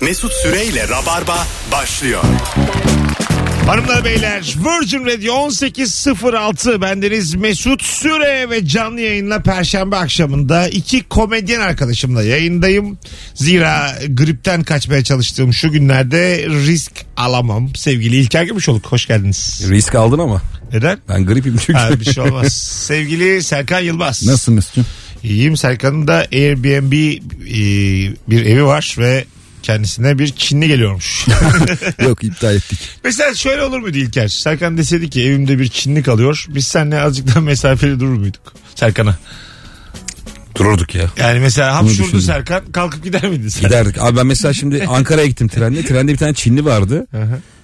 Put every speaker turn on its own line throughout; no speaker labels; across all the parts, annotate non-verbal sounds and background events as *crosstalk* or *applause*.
Mesut Süreyle Rabarba başlıyor.
Hanımlar beyler Virgin Radio 18.06 bendeniz Mesut Süre ve canlı yayınla Perşembe akşamında iki komedyen arkadaşımla yayındayım. Zira gripten kaçmaya çalıştığım şu günlerde risk alamam. Sevgili İlker Gümüşoluk hoş geldiniz.
Risk aldın ama.
Neden?
Ben gripim çünkü. *laughs*
Ha, bir şey olmaz. Sevgili Serkan Yılmaz.
Nasılsın Mesut'cum?
İyiyim Serkan'ın da Airbnb e, bir evi var ve kendisine bir Çinli geliyormuş.
Yok iptal ettik.
Mesela şöyle olur muydu İlker? Serkan deseydi ki evimde bir Çinli kalıyor. Biz seninle azıcık daha mesafeli durur muyduk? Serkan'a.
Dururduk ya.
Yani mesela hapşurdu
düşündüm.
Serkan kalkıp gider miydin sen?
Giderdik. Abi ben
*laughs*
mesela şimdi Ankara'ya gittim trenle. Trende bir tane Çinli vardı.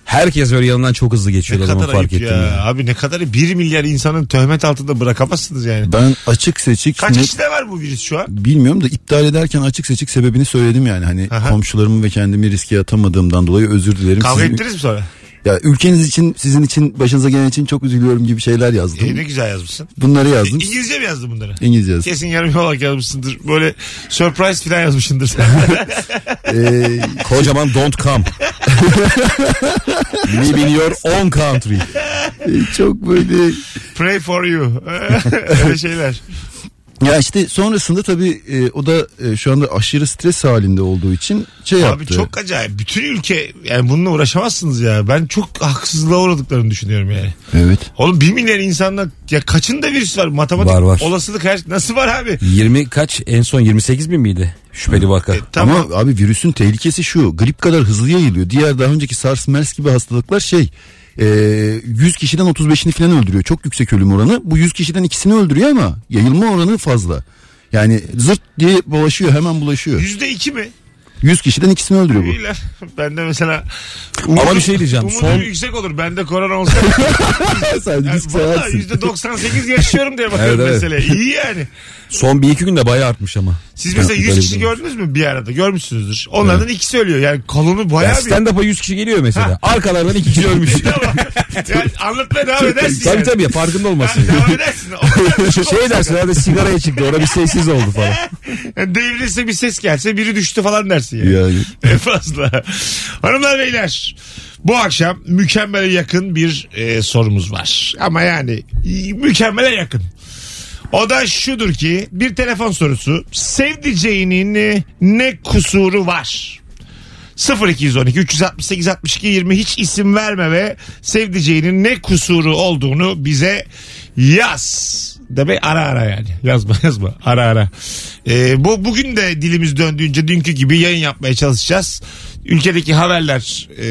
Herkes böyle yanından çok hızlı
Ne
geçiyordu o zaman
kadar
fark
ayıp ya.
ettim. ya.
Abi ne kadar 1 milyar insanın töhmet altında bırakamazsınız yani.
Ben açık seçik
Kaç
ne-
kişide var bu virüs şu an?
bilmiyorum da iptal ederken açık seçik sebebini söyledim yani. Hani
Aha.
komşularımı ve kendimi riske atamadığımdan dolayı özür dilerim.
Kavga
Sizin-
ettiniz mi sonra?
Ya ülkeniz için, sizin için, başınıza gelen için çok üzülüyorum gibi şeyler yazdım.
E, ne güzel yazmışsın.
Bunları yazdım.
İngilizce mi yazdın bunları?
İngilizce yazdım.
Kesin yarım yamalak yazmışsındır. Böyle surprise falan yazmışsındır *laughs* sen.
Ee,
Kocaman
*laughs*
don't come. Live in your own country.
çok böyle
Pray for you. *laughs* Öyle şeyler.
ya işte sonrasında tabii e, o da e, şu anda aşırı stres halinde olduğu için şey
Abi
yaptı.
çok acayip. Bütün ülke yani bununla uğraşamazsınız ya. Ben çok haksızlığa uğradıklarını düşünüyorum yani.
Evet.
Oğlum 1 milyar insanla ya kaçında virüs var? Matematik
Var, var.
olasılık her şey- nasıl var abi?
20 kaç en son 28 bin miydi? Şüpheli vaka.
Tamam.
Ama abi virüsün tehlikesi şu grip kadar hızlı yayılıyor. Diğer daha önceki SARS MERS gibi hastalıklar şey e, 100 kişiden 35'ini falan öldürüyor. Çok yüksek ölüm oranı. Bu 100 kişiden ikisini öldürüyor ama yayılma oranı fazla. Yani zırt diye bulaşıyor hemen bulaşıyor.
Yüzde iki mi?
100 kişiden ikisini öldürüyor bu.
Beyler, *laughs* Ben de mesela
Ama bir şey diyeceğim.
Umudum
Son-
yüksek olur. Bende korona olsa.
*laughs*
Sen
yani
risk
valla
seversin.
yüzde 98 yaşıyorum diye bakıyorum
*laughs* Evet, evet.
meseleye. İyi yani.
Son bir iki günde bayağı artmış ama.
Siz mesela
Ya,
100
böyle
kişi
bir-
gördünüz mü bir arada? Görmüşsünüzdür. Onlardan ikisi ölüyor. Yani kolonu bayağı
Ya
bir... *laughs*
stand-up'a 100 kişi geliyor mesela. Arkalardan iki kişi ölmüş.
yani anlatmaya devam edersin.
tabii
yani.
tabii ya,
*laughs*
farkında olmasın.
Devam edersin. O kadar çok
*laughs* şey dersin herhalde sigaraya çıktı orada bir sessiz oldu falan.
Yani devrilse bir ses gelse biri düştü falan dersin yani.
Yani.
*laughs* En fazla. Hanımlar beyler bu akşam mükemmele yakın bir e, sorumuz var. Ama yani y- mükemmele yakın. O da şudur ki bir telefon sorusu. Sevdiceğinin e, ne kusuru var? 0212 368 62 20 hiç isim verme ve sevdiceğinin ne kusuru olduğunu bize yaz. Deme ara ara yani. Yazma *laughs* yazma. Ara ara. Ee, bu bugün de dilimiz döndüğünce dünkü gibi yayın yapmaya çalışacağız. Ülkedeki haberler e,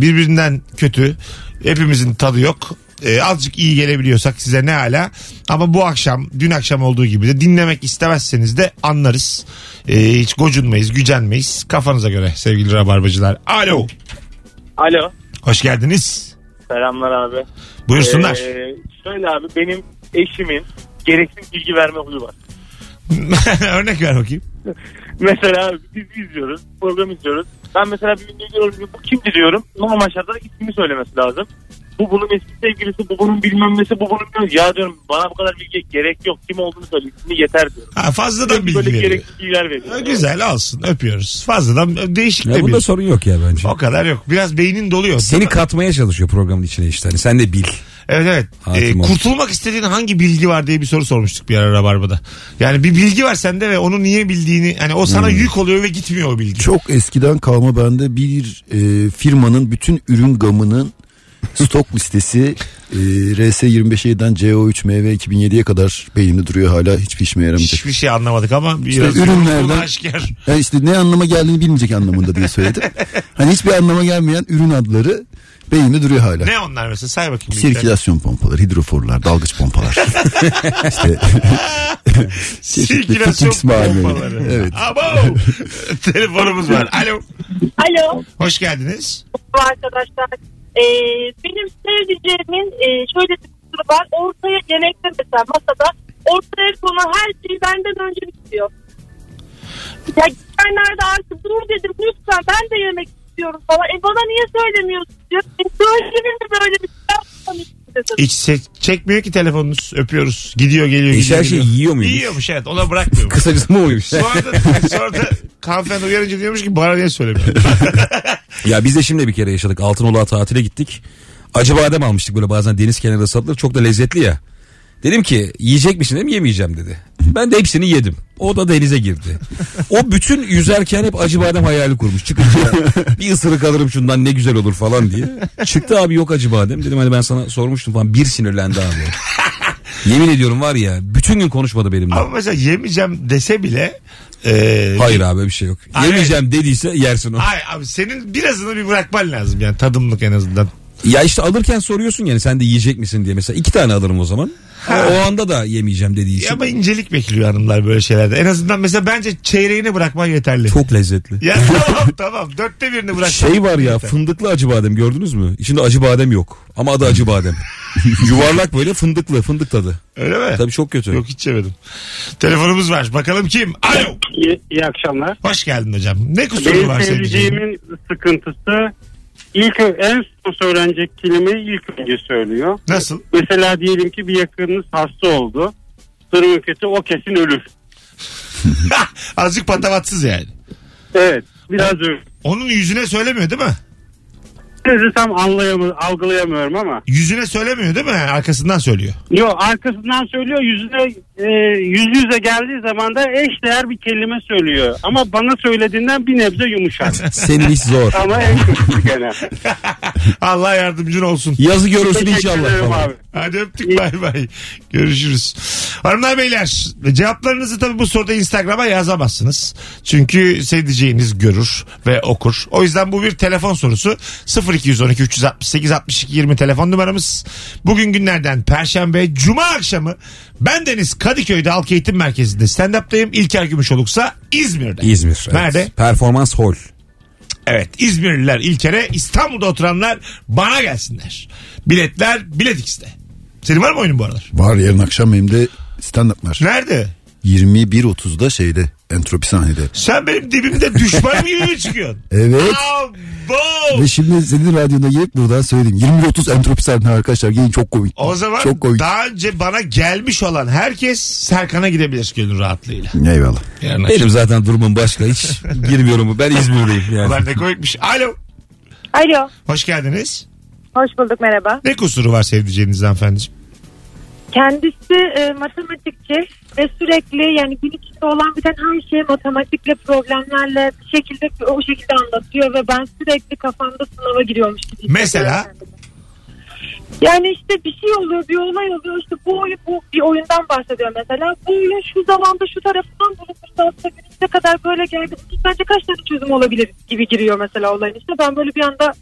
birbirinden kötü. Hepimizin tadı yok. E, azıcık iyi gelebiliyorsak size ne ala. Ama bu akşam dün akşam olduğu gibi de dinlemek istemezseniz de anlarız. E, hiç gocunmayız, gücenmeyiz. Kafanıza göre sevgili rabarbacılar. Alo.
Alo.
Hoş geldiniz.
Selamlar abi.
Buyursunlar.
Ee, şöyle abi benim eşimin gereksiz bilgi verme huyu var.
*laughs*
*laughs*
Örnek ver bakayım.
Mesela abi dizi izliyoruz, program izliyoruz. Ben mesela bir ünlü diyorum ki bu kimdi diyorum. Normal şartlarda ismini söylemesi lazım. Bu bunun eski sevgilisi, bu bunun bilmem nesi, bu bunun bilmem Ya diyorum bana bu kadar bilgi gerek yok. Kim olduğunu söyle, ismi yeter diyorum.
Ha, fazladan bilgi
Böyle
veriyor.
gereksiz bilgiler veriyor.
Ha, Güzel olsun öpüyoruz. Fazladan e, değişik
Ya
de
bunda
bir.
sorun yok ya bence.
O kadar yok. Biraz beynin doluyor.
Seni katmaya çalışıyor programın içine işte. Hani sen de bil.
Evet evet.
Hakim
Ee,
olmuş.
kurtulmak istediğin hangi bilgi var diye bir soru sormuştuk bir ara Rabarba'da. Yani bir bilgi var sende ve onu niye bildiğini hani o sana yük oluyor ve gitmiyor o bilgi.
Çok eskiden kalma bende bir e, firmanın bütün ürün gamının stok listesi e, RS25'den CO3 MV 2007'ye kadar beynimde duruyor hala hiçbir işime yaramayacak.
Hiçbir şey anlamadık ama biraz
ürünlerden-
yolculuğu aşikar.
Yani işte ne anlama geldiğini bilmeyecek anlamında
*laughs*
diye söyledim. hani hiçbir anlama gelmeyen ürün adları beynimde duruyor hala.
Ne onlar mesela say bakayım. bir tane.
Sirkülasyon pompaları, hidroforlar, dalgıç
*laughs*
pompalar.
Sirkülasyon
fix malzemeleri.
pompaları. Evet.
Evet.
Abo. Telefonumuz var. Alo.
Alo
Hoş geldiniz.
arkadaşlar. Ee, benim sevdiceğimin e, şöyle bir kusuru var. Ortaya yemekte mesela masada ortaya konan her şeyi benden önce istiyor. Ya geçenlerde artık dur dedim lütfen ben de yemek istiyorum falan. E bana niye söylemiyorsun diyor. E söylenir mi böyle bir şey? Ben yapmamıştım dedim.
İç se- Çekmiyor ki telefonunuz. Öpüyoruz. Gidiyor geliyor.
İş
gidiyor,
her şeyi
geliyor.
yiyor muymuş?
Yiyormuş evet. Ona
*laughs*
bırakmıyor.
Kısacası mı oymuş?
sonra da, sonra da hanımefendi uyarınca diyormuş ki bana niye söylemiyor.
ya biz de şimdi bir kere yaşadık. Altınoluk'a tatile gittik. Acı badem almıştık böyle bazen deniz kenarında satılır. Çok da lezzetli ya. Dedim ki yiyecek misin dedim yemeyeceğim dedi. Ben de hepsini yedim. O da denize girdi. O bütün yüzerken hep acı badem hayali kurmuş. Çıkınca bir ısırık alırım şundan ne güzel olur falan diye. Çıktı abi yok acı badem. Dedim hani ben sana sormuştum falan. Bir sinirlendi abi. Yemin ediyorum var ya bütün gün konuşmadı benimle.
Ama mesela yemeyeceğim dese bile e,
Hayır abi bir şey yok.
Hayır.
Yemeyeceğim dediyse yersin o.
Ay abi senin birazını bir bırakman lazım yani tadımlık en azından.
Ya işte alırken soruyorsun yani sen de yiyecek misin diye mesela iki tane alırım o zaman. Ama o anda da yemeyeceğim dediği
Ya
için.
Ama incelik bekliyor hanımlar böyle şeylerde. En azından mesela bence çeyreğini bırakman yeterli.
Çok lezzetli.
Ya *laughs* tamam tamam dörtte birini bırak.
Şey var ya fındıklı acı badem gördünüz mü? İçinde acı badem yok ama adı acı *laughs* badem. Yuvarlak böyle fındıklı fındık tadı.
Öyle mi?
Tabii çok kötü.
Yok hiç yemedim. Telefonumuz var. Bakalım kim? Alo.
İyi, iyi akşamlar.
Hoş geldin hocam. Ne kusurun
Benim
var senin? diyeceğim?
sevdiceğimin sıkıntısı ilk ö- en son söylenecek kelimeyi ilk önce söylüyor.
Nasıl? *laughs*
Mesela diyelim ki bir yakınınız hasta oldu. Durumu kötü o kesin ölür.
Azıcık patavatsız yani.
Evet biraz ölür.
Onun yüzüne söylemiyor değil mi?
Sizi tam anlayamıyorum, algılayamıyorum ama.
Yüzüne söylemiyor değil mi? Yani arkasından
*laughs*
söylüyor.
Yok arkasından söylüyor yüzüne e, yüz yüze geldiği zaman da eşdeğer bir kelime söylüyor. Ama bana söylediğinden bir nebze yumuşak.
Senin iş zor.
ama en kötüsü gene.
Allah yardımcın olsun.
Yazı görürsün
Teşekkür
inşallah.
ederim
falan.
abi.
Hadi öptük bay bay. Görüşürüz. Hanımlar beyler cevaplarınızı tabii bu soruda Instagram'a yazamazsınız. Çünkü sevdiceğiniz görür ve okur. O yüzden bu bir telefon sorusu. 0212 368 62 20 telefon numaramız. Bugün günlerden Perşembe Cuma akşamı ben Deniz Kadıköy'de Halk Eğitim Merkezi'nde stand-up'tayım. İlker Gümüşoluk'sa İzmir'de.
İzmir. evet.
Nerede?
Performans hall.
Evet İzmirliler İlker'e İstanbul'da oturanlar bana gelsinler. Biletler Bilet X'de. Senin var mı oyunun bu aralar?
Var yarın akşam benim de stand up var.
Nerede?
21.30'da şeyde entropi sahnede.
Sen benim dibimde düşmanım gibi mi çıkıyorsun?
*laughs* Evet.
Abo!
Ve şimdi senin radyonda gelip buradan söyleyeyim. 20.30 entropi sahne arkadaşlar. Gelin çok komik.
O zaman
Çok komik.
daha önce bana gelmiş olan herkes Serkan'a gidebilir gönül rahatlığıyla.
Eyvallah.
Yarın akşam.
Benim zaten durumum başka hiç girmiyorum. Ben İzmir'deyim yani.
Ulan ne koyukmuş. Alo.
Alo.
Hoş geldiniz.
Hoş bulduk merhaba.
Ne kusuru var sevdiceğinizden hanımefendiciğim?
Kendisi e, matematikçi ve sürekli yani gün içinde olan biten her şeyi matematikle problemlerle bir şekilde o şekilde anlatıyor ve ben sürekli kafamda sınava giriyormuş gibi hissediyorum
Mesela?
kendimi. Yani işte bir şey oluyor, bir olay oluyor. İşte bu oyun, bu bir oyundan bahsediyor mesela. Bu oyun şu zamanda şu tarafından bunu bu saatte günümüze kadar böyle geldi. Biz Bence kaç tane çözüm olabilir gibi giriyor mesela olayın işte. Ben böyle bir anda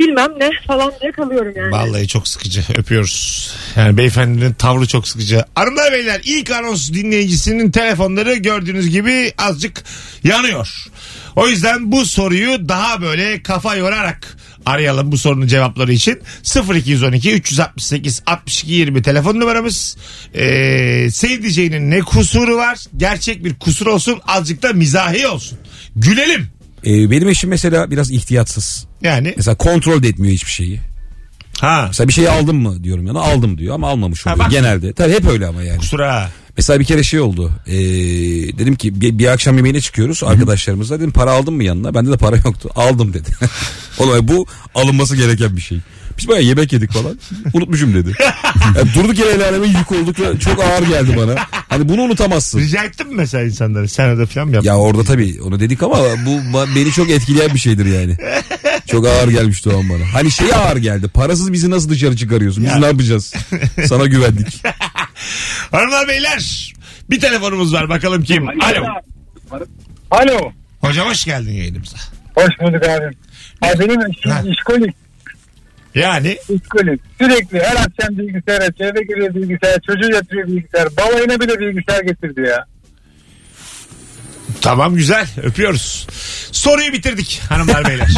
bilmem ne falan diye kalıyorum yani.
Vallahi çok sıkıcı. Öpüyoruz. Yani beyefendinin tavrı çok sıkıcı. Hanımlar beyler ilk anons dinleyicisinin telefonları gördüğünüz gibi azıcık yanıyor. O yüzden bu soruyu daha böyle kafa yorarak arayalım bu sorunun cevapları için. 0212 368 62 20 telefon numaramız. Ee, sevdiceğinin ne kusuru var? Gerçek bir kusur olsun azıcık da mizahi olsun. Gülelim.
Ee, benim eşim mesela biraz ihtiyatsız.
Yani
Mesela kontrol de etmiyor hiçbir şeyi.
ha
Mesela bir şey aldın mı diyorum yana aldım diyor ama almamış oluyor
bak.
genelde. Tabii hep öyle ama yani.
kusura.
Mesela bir kere şey oldu. Ee, dedim ki bir, bir akşam yemeğine çıkıyoruz arkadaşlarımızla. Dedim para aldın mı yanına? Bende de para yoktu. *laughs* Aldım dedi. Olay bu alınması gereken bir şey. Biz bayağı yemek yedik falan. Unutmuşum dedi. Yani durduk yere el aleme yük olduk. ve Çok ağır geldi bana. Hani bunu unutamazsın.
Rica ettin mi mesela insanlara? Sen de falan mı yaptın?
Ya orada tabii onu dedik ama bu ba- beni çok etkileyen bir şeydir yani. Çok ağır gelmişti o an bana. Hani şey ağır geldi. Parasız bizi nasıl dışarı çıkarıyorsun? Biz
Ya.
ne yapacağız?
*laughs*
Sana güvendik.
Hanımlar beyler bir telefonumuz var bakalım kim? Alo.
Alo.
Hocam hoş geldin yayınımıza.
Hoş bulduk abim. Abi benim
Ha.
işim işkolik,
Yani
işkolik. Sürekli her akşam bilgisayara, eve giriyor bilgisayar, çocuğu yatırıyor bilgisayar. Balayına bile bilgisayar getirdi ya.
tamam güzel öpüyoruz. Soruyu bitirdik hanımlar
*laughs*
beyler.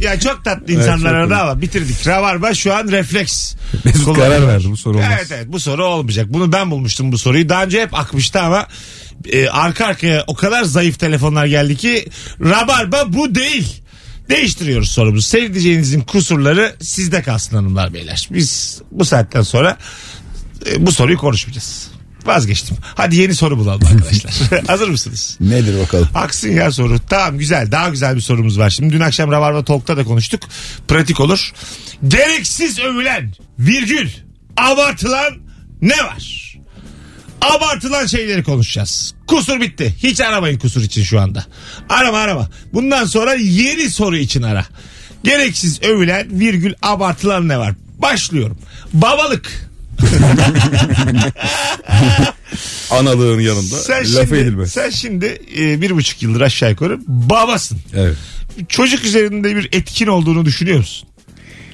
ya çok tatlı insanlar
çok
arada ama bitirdik. Ravarba şu an refleks.
Mesut
Kullanıyor.
karar verdi bu soru olmaz.
Evet evet bu soru olmayacak. Bunu ben bulmuştum bu soruyu. Daha önce hep akmıştı ama e, arka arkaya o kadar zayıf telefonlar geldi ki Rabarba bu değil Değiştiriyoruz sorumuzu. Sevdiceğinizin kusurları sizde kalsın hanımlar beyler. Biz bu saatten sonra e, bu soruyu konuşmayacağız. Vazgeçtim. Hadi yeni soru bulalım arkadaşlar. Hazır mısınız?
Nedir bakalım?
Aksın ya soru. Tamam güzel. Daha güzel bir sorumuz var. Şimdi dün akşam Rabarba Talk'ta da konuştuk. Pratik olur. Gereksiz övülen virgül abartılan ne var? Abartılan şeyleri konuşacağız. Kusur bitti. Hiç aramayın kusur için şu anda. Arama arama. Bundan sonra yeni soru için ara. Gereksiz övülen virgül abartılan ne var? Başlıyorum. Babalık.
Analığın yanında
Sen
laf
şimdi,
edilmez.
sen şimdi e, bir buçuk yıldır aşağı yukarı babasın.
Evet.
çocuk üzerinde bir etkin olduğunu düşünüyor musun?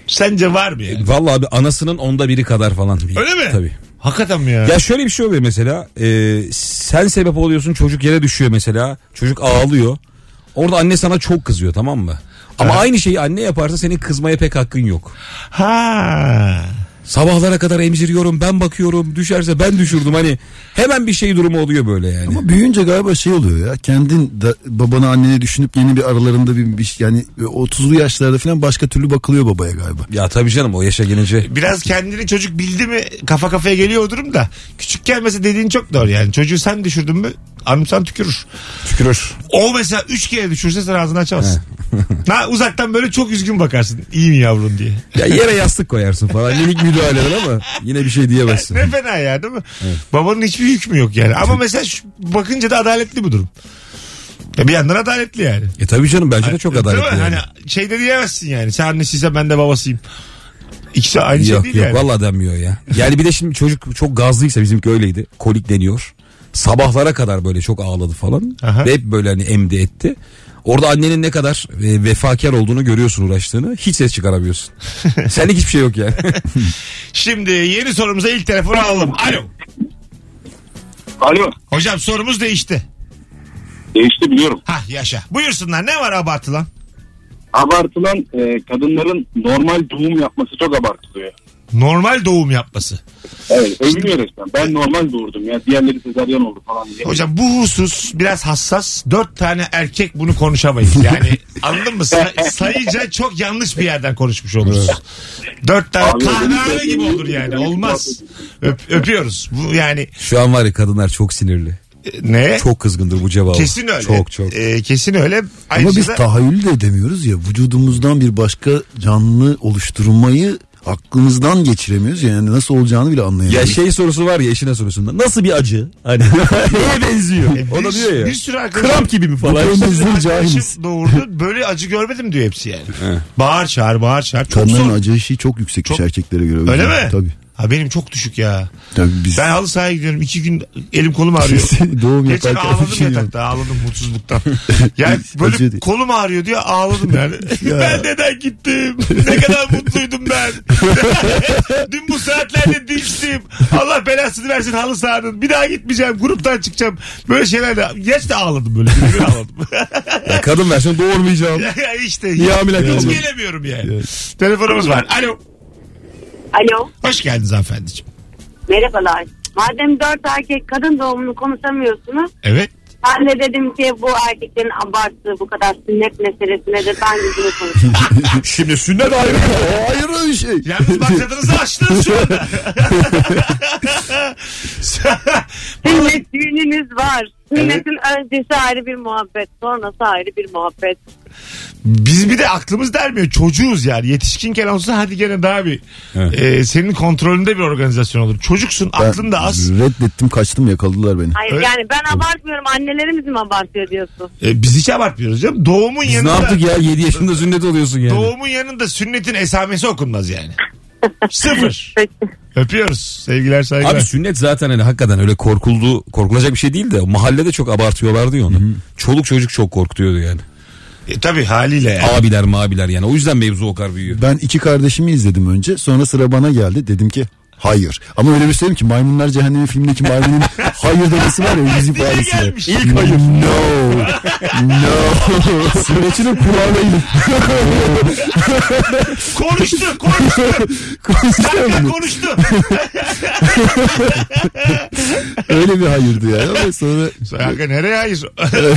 Sence var mı yani?
E, Vallahi abi anasının onda biri kadar falan.
Öyle mi?
Tabii.
Hakikaten mi ya?
Ya şöyle bir şey oluyor mesela. e, sen sebep oluyorsun çocuk yere düşüyor mesela. Çocuk ağlıyor. Orada anne sana çok kızıyor tamam mı? Ama aynı şeyi anne yaparsa senin kızmaya pek hakkın yok.
Ha.
Sabahlara kadar emziriyorum ben bakıyorum düşerse ben düşürdüm hani hemen bir şey durumu oluyor böyle yani.
Ama büyüyünce galiba şey oluyor ya kendin da, babana annene düşünüp yeni bir aralarında bir, bir yani 30'lu yaşlarda falan başka türlü bakılıyor babaya galiba.
Ya tabii canım o yaşa gelince.
Biraz kendini çocuk bildi mi kafa kafaya geliyor o durum da. Küçükken mesela dediğin çok doğru yani. Çocuğu sen düşürdün mü anımsan tükürür.
Tükürür.
O mesela üç kere düşürse sen ağzını açamazsın. *laughs* ha, uzaktan böyle çok üzgün bakarsın. İyi mi yavrum diye.
Ya yere yastık koyarsın falan minik müdahaleler ama yine bir şey diyemezsin.
Ne fena ya değil mi? Babanın hiçbir hükmü yok yani. Ama mesela şu- bakınca da adaletli bu durum. Ya bir yandan adaletli yani.
E tabii canım bence de çok
Değil mi?
adaletli yani.
Hani şey de diyemezsin yani. Sen annesiysem ben de babasıyım. İkisi aynı şey
Yok
değil
yok
yani.
vallahi denmiyor ya. Yani bir de şimdi çocuk çok gazlıysa bizimki öyleydi. Kolik deniyor. Sabahlara kadar böyle çok ağladı falan.
Aha.
Ve hep böyle hani emdi etti. Orada annenin ne kadar e, vefakar olduğunu görüyorsun uğraştığını. Hiç ses
*laughs*
çıkaramıyorsun. Senlik hiçbir şey yok yani.
Şimdi yeni sorumuza ilk telefonu alalım. Alo.
Alo.
Hocam sorumuz değişti.
Değişti biliyorum.
Hah yaşa. Buyursunlar ne var abartılan?
Abartılan e, kadınların normal doğum yapması çok abartılıyor.
Normal doğum yapması.
Evet övünüyor resmen. Ben normal doğurdum ya. Diğerleri sezaryen oldu falan diye.
Hocam bu husus biraz hassas. Dört tane erkek bunu konuşamayız.
*laughs*
Yani anladın mı? Sa- sayıca çok yanlış bir yerden konuşmuş oluruz. Dört tane
Abi,
kahvehane
benim-
gibi olur yani. Olmaz. Öp- öpüyoruz. Bu yani
Şu an var ya kadınlar çok sinirli.
e, ne?
Çok kızgındır bu cevaba.
Kesin öyle.
Çok çok.
E, kesin öyle.
Ama
Ayrıca
biz
da-
tahayyül de edemiyoruz ya vücudumuzdan bir başka canlı oluşturmayı aklımızdan geçiremiyoruz ya. yani nasıl olacağını bile
Eh.
ya
anlayamıyoruz.
şey sorusu var ya eşine sorusunda. Nasıl bir acı? Hani *laughs* neye
E,
benziyor?
bir-
Ona diyor ya.
Bir sürü arkadaşım,
Kramp gibi mi falan?
Bu konuda
bir sürü
Biz
arkadaşım
cahiliz.
doğurdu. Böyle acı görmedim diyor hepsi yani. bağır çağır bağır çağır. Çok
Kadınların
zor.
acı eşiği çok yüksekmiş
Çok-
erkeklere göre.
Öyle mi?
Tabii.
Ha benim çok düşük ya.
Tabii biz
Ben halı sahaya gidiyorum. iki gün elim kolum ağrıyor.
*laughs* doğum
Geçen
yaparken
ağladım
bir şey yok.
yatakta ağladım
*laughs*
mutsuzluktan. Yani
Acı
böyle
değil.
kolum ağrıyor diyor ağladım
*laughs*
yani. *laughs* ben neden gittim? Ne kadar mutluydum
*laughs*
ben. Dün bu saatlerde dinçtim. Allah belasını versin halı sahanın. Bir daha gitmeyeceğim. Gruptan çıkacağım. Böyle şeylerle. Geç de ağladım böyle. Bir gün ağladım. *laughs*
Ya kadın versiyonu doğurmayacağım.
Ya işte.
İyi hamile
hiç
kaldım.
gelemiyorum yani. Telefonumuz var. Alo.
Alo.
Hoş geldiniz hanımefendiciğim.
Merhabalar. Madem dört erkek kadın doğumunu konuşamıyorsunuz.
*laughs*
Evet.
Ben de dedim ki bu erkeklerin abarttığı bu kadar sünnet meselesine de ben yüzünü konuşayım.
Şimdi sünnet *laughs* ayrı.
Hayır öyle şey.
Yalnız maksadınızı açtınız şu anda.
Sünnet düğününüz var. Sünnetin öncesi ayrı bir muhabbet. Sonrası ayrı bir muhabbet.
Biz bir de aklımız dermiyor. Çocuğuz yani. Yetişkinken olsa hadi gene daha bir
Evet.
e, senin kontrolünde bir organizasyon olur. Çocuksun aklın da az.
Reddettim kaçtım yakaladılar beni.
Hayır
Öyle-
yani ben abartmıyorum. Annelerimiz mi abartıyor diyorsun?
E, biz hiç abartmıyoruz canım. Doğumun
Biz ne
yanında
yaptık ya 7 yaşında sünnet oluyorsun yani.
doğumun yanında sünnetin esamesi okunmaz yani. Sıfır.
Peki.
Öpüyoruz. Sevgiler saygılar.
Abi sünnet zaten hani hakikaten öyle korkuldu korkulacak bir şey değil de mahallede çok abartıyorlardı ya onu. Çoluk çocuk çok korkutuyordu yani.
E, tabii haliyle yani.
Abiler mabiler yani o yüzden mevzu o kadar büyüyor.
Ben iki kardeşimi izledim önce. Sonra sıra bana geldi. Dedim ki hayır. Ama öyle bir söyleyeyim ki Maymunlar Cehennemi filmindeki
*laughs*
maymunun hayır demesi var ya yüz ifadesi.
gelmiş.
İlk hayır. No.
*laughs*
No. Süreçinin kulağına
*laughs*
Konuştu konuştu.
gidip.
Dakika konuştu.
*laughs* Öyle bir hayırdı ya. Ama sonra
Kanka nereye hayır? *laughs*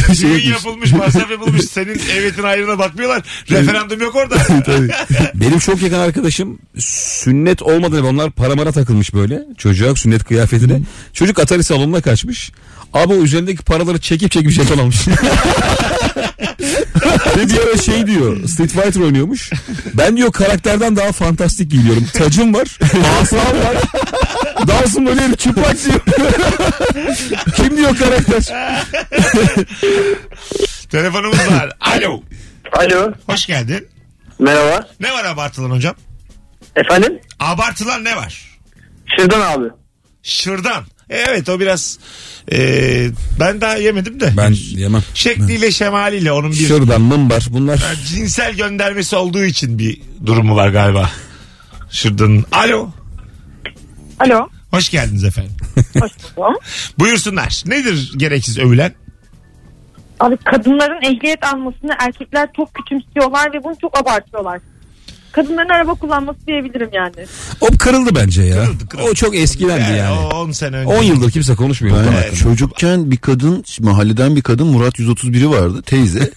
Ee, şey
Düğün
yapmış.
yapılmış, masraf yapılmış. Senin evetin ayrına bakmıyorlar. Referandum yok orada.
tabii.
Benim çok yakın arkadaşım sünnet olmadan onlar paramara takılmış böyle çocuğa sünnet kıyafetine. Çocuk Atari salonuna kaçmış. Abi o üzerindeki paraları çekip çekip jeton almış. *laughs* Ve bir ara şey diyor Street Fighter oynuyormuş. Ben diyor karakterden daha fantastik giyiniyorum. Tacım var. Asam var. Dansım böyle herif çıplak diyor. *laughs* Kim diyor karakter?
Telefonumuz
*laughs*
var. Alo.
Alo.
Hoş geldin.
Merhaba.
Ne var abartılan hocam?
Efendim?
Abartılan ne var?
Şırdan abi.
Şırdan. Evet o biraz e, ben daha yemedim de.
Ben yemem.
Şekliyle şemaliyle onun bir
Şuradan mımbar bunlar.
cinsel göndermesi olduğu için bir durumu var galiba. Şırdanın. Alo.
Alo.
Hoş geldiniz efendim.
Hoş buldum.
Buyursunlar. Nedir gereksiz övülen?
Abi kadınların ehliyet almasını erkekler çok küçümsüyorlar ve bunu çok abartıyorlar. Kadınların araba kullanması diyebilirim yani.
O kırıldı bence ya.
Kırıldı, kırıldı.
O çok eskilendi yani.
o 10 E, sene önce.
10 yıldır kimse konuşmuyor. bu konu
Ben
hakkında.
çocukken bir kadın mahalleden bir kadın Murat 131'i vardı
*laughs*
teyze.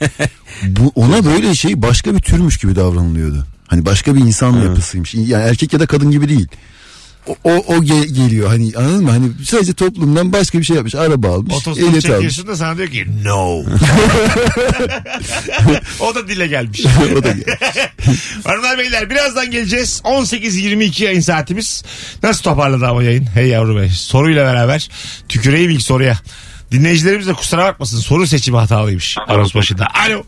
Bu ona böyle şey başka bir türmüş gibi davranılıyordu. Hani başka bir insan yapısıymış. Yani erkek ya da kadın gibi değil. O o, o ge- geliyor hani anladın mı? Hani sadece toplumdan başka bir şey yapmış. Araba almış,
Otostop
ehliyet almış.
çekiyorsun da sana diyor ki no. o da dile gelmiş. *laughs*
*laughs* o da gel-
Hanımlar beyler birazdan geleceğiz. 18.22 yayın saatimiz. Nasıl toparladı ama yayın? Hey yavru bey. Soruyla beraber tüküreyim ilk soruya. Dinleyicilerimiz de kusura bakmasın. Soru seçimi hatalıymış anons başında. Alo.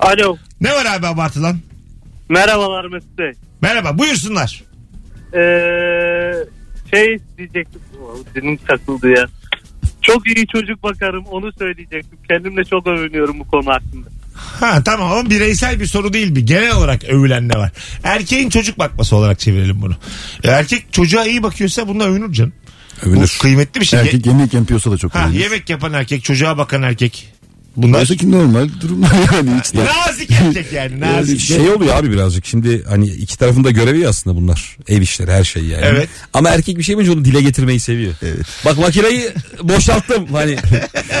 Alo.
Ne var abi abartılan?
Merhabalar Mesut Bey.
Merhaba buyursunlar.
Ee, şey diyecektim. Oh, Dilim takıldı ya. Çok iyi çocuk bakarım onu söyleyecektim. Kendimle çok övünüyorum bu konu hakkında.
Ha tamam ama bireysel bir soru değil bir. Genel olarak övülen ne var? Erkeğin çocuk bakması olarak çevirelim bunu. E, Erkek çocuğa iyi bakıyorsa bununla övünür canım. Bu kıymetli bir şey.
Erkek yemek yapıyorsa da çok
Ha,
önemli.
yemek yapan erkek, çocuğa bakan erkek. Bunlar
Oysa ki normal durumlar *laughs* yani hiç de-
nazik erkek yani nazik.
şey oluyor abi birazcık şimdi hani iki tarafın da görevi ya aslında bunlar ev işleri her şey yani.
Evet.
Ama erkek bir şey yapınca onu dile getirmeyi seviyor. Bak makineyi boşalttım hani.
*laughs*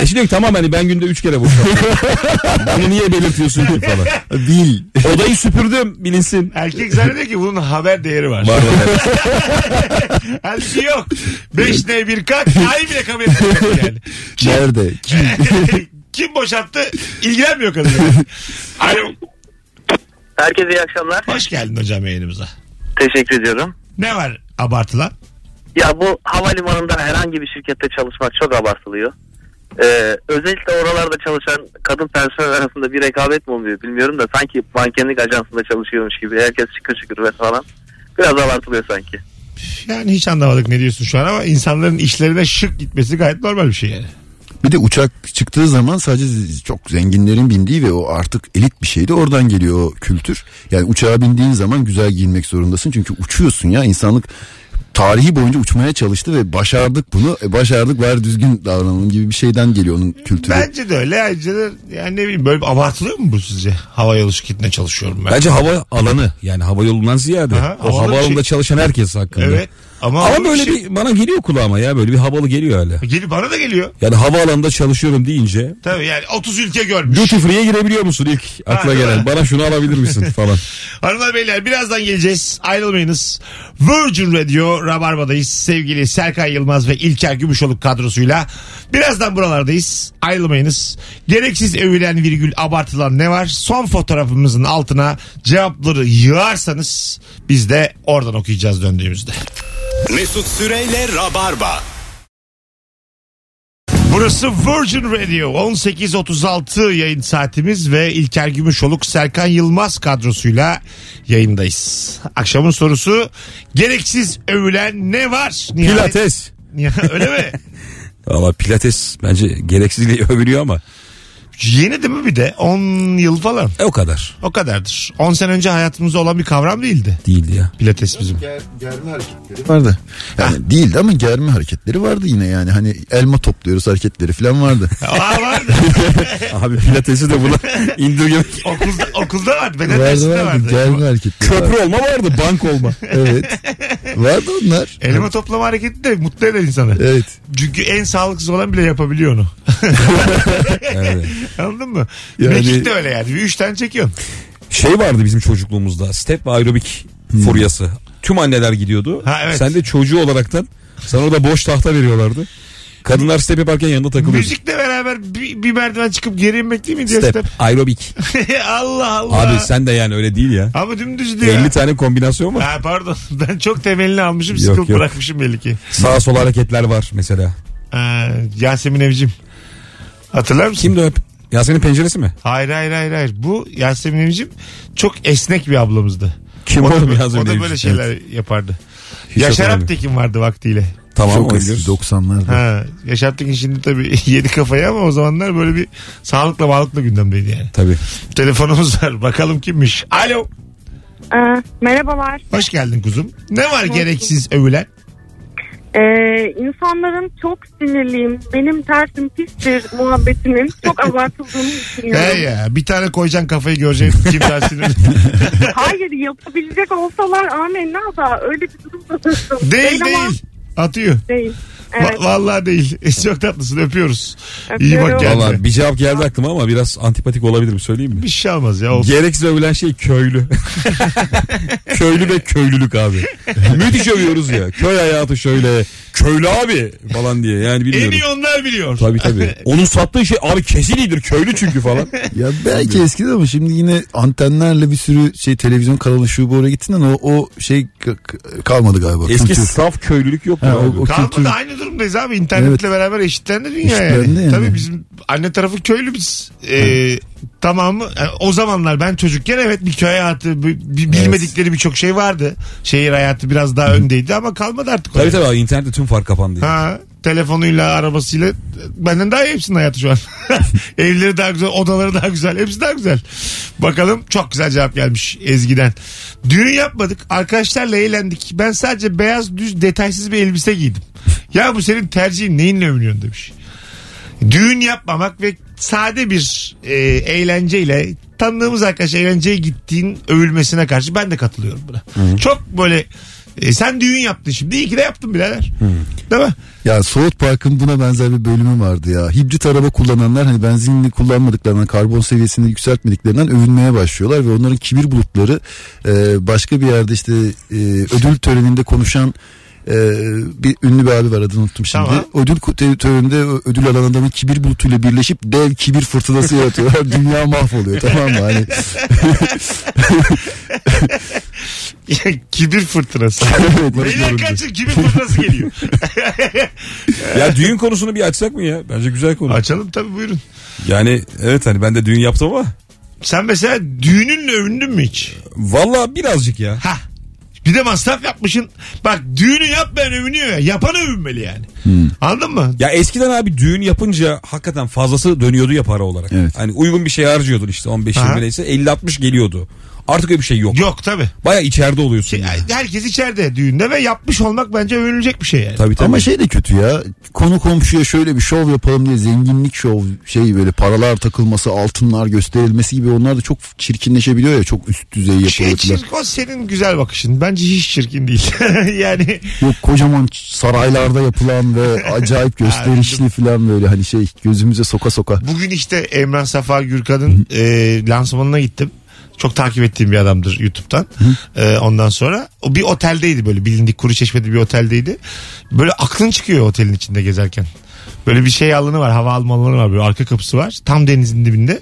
E şimdi diyor ki tamam hani ben günde üç kere boşalttım. Bunu niye belirtiyorsun ki falan.
Bil.
Odayı süpürdüm bilinsin.
Erkek zannediyor ki bunun haber değeri var. *laughs*
Var var.
Halbuki yok. 5D 1K ay bile kabul etmiyor yani.
Nerede? Kim?
Kim boşalttı ilgilenmiyor kadın yani. Alo.
Herkese iyi akşamlar.
Hoş geldin hocam yayınımıza.
Teşekkür ediyorum.
Ne var abartılan?
Ya bu havalimanında herhangi bir şirkette çalışmak çok abartılıyor. Ee, özellikle oralarda çalışan kadın personel arasında bir rekabet mi oluyor bilmiyorum da sanki mankenlik ajansında çalışıyormuş gibi herkes şıkır şıkır ve falan. Biraz abartılıyor sanki.
Yani hiç anlamadık ne diyorsun şu an ama insanların işlerine şık gitmesi gayet normal bir şey yani.
Bir de uçak çıktığı zaman sadece z- çok zenginlerin bindiği ve o artık elit bir şeydi. Oradan geliyor o kültür. Yani uçağa bindiğin zaman güzel giyinmek zorundasın. Çünkü uçuyorsun ya insanlık tarihi boyunca uçmaya çalıştı ve başardık bunu. E, başardık var düzgün davranalım gibi bir şeyden geliyor onun kültürü.
Bence de öyle. Ayrıca da yani ne bileyim böyle abartılıyor mu bu sizce? Hava yolu şirketine çalışıyorum ben.
Bence hava alanı yani hava yolundan ziyade.
Aha,
o
havalı bir
hava
şey.
alanında çalışan herkes hakkında.
Evet. Ama,
Ama
havalı
böyle
şey-
bir bana geliyor kulağıma ya böyle bir havalı geliyor hala.
Gelip bana da geliyor.
Yani havaalanında çalışıyorum deyince
Tabii yani 30 ülke görmüş.
Duty free'ye girebiliyor musun ilk akla
değil mi?
gelen? Bana şunu alabilir misin
*laughs*
falan.
Hanımlar beyler birazdan geleceğiz. Ayrılmayınız. Virgin Radio Rabarba'dayız. Sevgili Serkan Yılmaz ve İlker Gümüşoluk kadrosuyla. Birazdan buralardayız. Ayrılmayınız. Gereksiz övülen virgül abartılan ne var? Son fotoğrafımızın altına cevapları yığarsanız biz de oradan okuyacağız döndüğümüzde.
Mesut Süreyle Rabarba.
Burası Virgin Radio 18.36 yayın saatimiz ve İlker Gümüşoluk Serkan Yılmaz kadrosuyla yayındayız. Akşamın sorusu gereksiz övülen ne var? Nihayet-
Pilates.
Ya, Öyle mi?
Ama pilates bence gereksizliği övülüyor ama
Yeni değil mi bir de 10 yıl falan
e, o kadar
o kadardır. 10 sene önce hayatımızda olan bir kavram değildi *laughs*
değildi ya.
pilates bizim.
germe hareketleri vardı. Yani değildi ama germe hareketleri vardı yine yani. Hani elma topluyoruz hareketleri falan *laughs* vardı.
Aa, vardı.
Abi
*laughs*
pilatesi de buna indirgemek.
okulda, okulda vardı. Beden
vardı
dersinde
vardı.
vardı.
Germe hareketleri vardı. *laughs*
Köprü olma vardı bank olma.
Evet. Vardı onlar.
Elma toplama hareketi de mutlu eder insanı.
Evet.
Çünkü en sağlıksız olan bile yapabiliyor onu.
*laughs* Evet.
Anladın mı?
Yani-
Mekik de öyle yani. Bir üç tane çekiyorsun.
Şey vardı bizim çocukluğumuzda step ve aerobik furyası. Tüm anneler gidiyordu.
Hmm. Ha, evet.
Sen de çocuğu olaraktan sana orada boş tahta veriyorlardı. Kadınlar step yaparken yanında takılıyordu.
Müzikle beraber bir, bir merdiven çıkıp geri inmek değil mi diyor
Step,
step?
aerobik.
*laughs* Allah Allah.
Abi sen de yani öyle değil ya.
Ama dümdüz diyor.
50 tane kombinasyon var.
Ha pardon. *laughs* Ben çok temelini almışım.
Yok,
Sıkılıp
yok.
bırakmışım belli ki.
Sağa sola hareketler var mesela.
Ha, Yasemin Evcim. Hatırlar mısın?
Kimdi o? Yasemin penceresi mi?
Hayır hayır hayır hayır. Bu Yasemin Evcim çok esnek bir ablamızdı.
Kim
o da,
oğlum Yasemin
o da
Evcim?
böyle şeyler yapardı.
Hiç
Yaşar
hatırlamıyorum.
Aptekin vardı vaktiyle.
Tamam
Çok
onu
eski
biliyoruz.
90'larda.
Ha, Yaşar Aptekin şimdi tabii *laughs* yedi kafayı ama o zamanlar böyle bir sağlıkla bağlıkla gündemdeydi yani.
Tabii.
Telefonumuz var. Bakalım kimmiş. Alo.
Ee, merhabalar.
Hoş geldin kuzum. Ne var gereksiz övülen?
Ee, insanların çok sinirliyim, benim tersim pistir muhabbetinin çok
*laughs*
abartıldığını
He
düşünüyorum.
ya bir tane koyacaksın kafayı göreceksin
*laughs*
kim dersin.
Hayır yapabilecek olsalar amenna da öyle bir durum da söz
değil
ama
değil. Atıyor.
Değil.
Va-
Evet.
vallahi değil. *laughs* E, Çok tatlısın öpüyoruz. İyi bak
Öpüyorum.
kendine.
Valla bir cevap geldi aklıma ama biraz antipatik olabilirim söyleyeyim mi?
Bir şey olmaz ya. Olsun.
Gereksiz övülen şey *laughs* köylü. köylü ve köylülük abi. Müthiş övüyoruz ya. Köy hayatı şöyle. Köylü abi falan diye. Yani
En
bilmiyorum.
iyi onlar biliyor. *laughs*
Tabii tabii. Onun sattığı şey abi kesin iyidir köylü çünkü *laughs* falan.
Ya belki eskiden ama şimdi yine antenlerle bir sürü şey televizyon kanalı şu bu oraya gittiğinden o, o şey k- k- kalmadı galiba.
Eski
Kültür.
saf köylülük yok mu?
Ha,
abi?
o, o
Kalmadı
kültür.
aynı durumdayız abi. İnternetle
Evet.
beraber eşitlendi dünya
Eşitlendi
yani.
yani.
Tabii bizim anne tarafı köylü biz. Ee, tamamı yani o zamanlar ben çocukken evet bir köy hayatı bir- bir bilmedikleri birçok şey vardı. Şehir hayatı biraz daha öndeydi ama kalmadı artık. o
Tabii
yani.
tabii abi, internette tüm fark kapandı.
Ha, telefonuyla arabasıyla benden daha iyi hepsinin hayatı şu an. *laughs* Evleri daha güzel, odaları daha güzel, hepsi daha güzel. Bakalım çok güzel cevap gelmiş Ezgi'den. Düğün yapmadık, arkadaşlarla eğlendik. Ben sadece beyaz düz detaysız bir elbise giydim. Ya bu senin tercihin neyinle övünüyorsun demiş. Düğün yapmamak ve sade bir e, eğlenceyle tanıdığımız arkadaş eğlenceye gittiğin övülmesine karşı ben de katılıyorum buna. Çok böyle e, sen düğün yaptın şimdi iyi ki de yaptın birader. Değil mi?
Ya South Park'ın buna benzer bir bölümü vardı ya. Hibrit araba kullananlar hani benzinli kullanmadıklarından, karbon seviyesini yükseltmediklerinden övünmeye başlıyorlar ve onların kibir bulutları e, başka bir yerde işte e, ödül töreninde konuşan e, bir ünlü bir abi var adını unuttum şimdi.
Tamam.
Ödül ku- te- töreninde ö- ödül alan adamın kibir bulutuyla birleşip dev kibir fırtınası yaratıyorlar. *laughs* Dünya mahvoluyor tamam mı? Hani
*laughs* kibir fırtınası. Beyler kaçın kibir fırtınası geliyor.
Ya düğün konusunu bir açsak mı ya? Bence güzel konu.
*laughs* Açalım tabii buyurun.
Yani evet hani ben de düğün yaptım ama
Sen mesela düğününle övündün mü hiç?
valla birazcık ya.
Ha. Bir de masraf yapmışın. Bak düğünü yapmayan övünüyor ya. Yapan övünmeli yani. Anladın mı?
Ya eskiden abi düğün yapınca hakikaten fazlası dönüyordu ya para olarak.
Evet.
Hani uygun bir şey harcıyordun işte 15
Aha.
20 neyse 50 60 geliyordu. Artık öyle bir şey yok.
Yok Şey, tabii.
Baya içeride oluyorsun.
Ki-
yani.
Herkes içeride düğünde ve yapmış olmak bence övünülecek bir şey yani.
Tabii tabii.
Ama şey de kötü ya. Konu komşuya şöyle bir şov yapalım diye zenginlik şov şey böyle paralar takılması, altınlar gösterilmesi gibi onlar da çok çirkinleşebiliyor ya çok üst düzey
Şey
yapılıyor.
çirkin, o senin güzel bakışın. Bence hiç çirkin değil. *laughs* yani
Yok kocaman ç- saraylarda yapılan ve acayip gösterişli falan böyle hani şey gözümüze soka soka.
Bugün işte Emrah Safa Gürkan'ın e, lansmanına gittim. Çok takip ettiğim bir adamdır YouTube'dan. E, ondan sonra o bir oteldeydi böyle bilindik Kuruçeşme'de bir oteldeydi. Böyle aklın çıkıyor otelin içinde gezerken. Böyle bir şey alanı var, hava alma alanı var, böyle arka kapısı var. Tam denizin dibinde.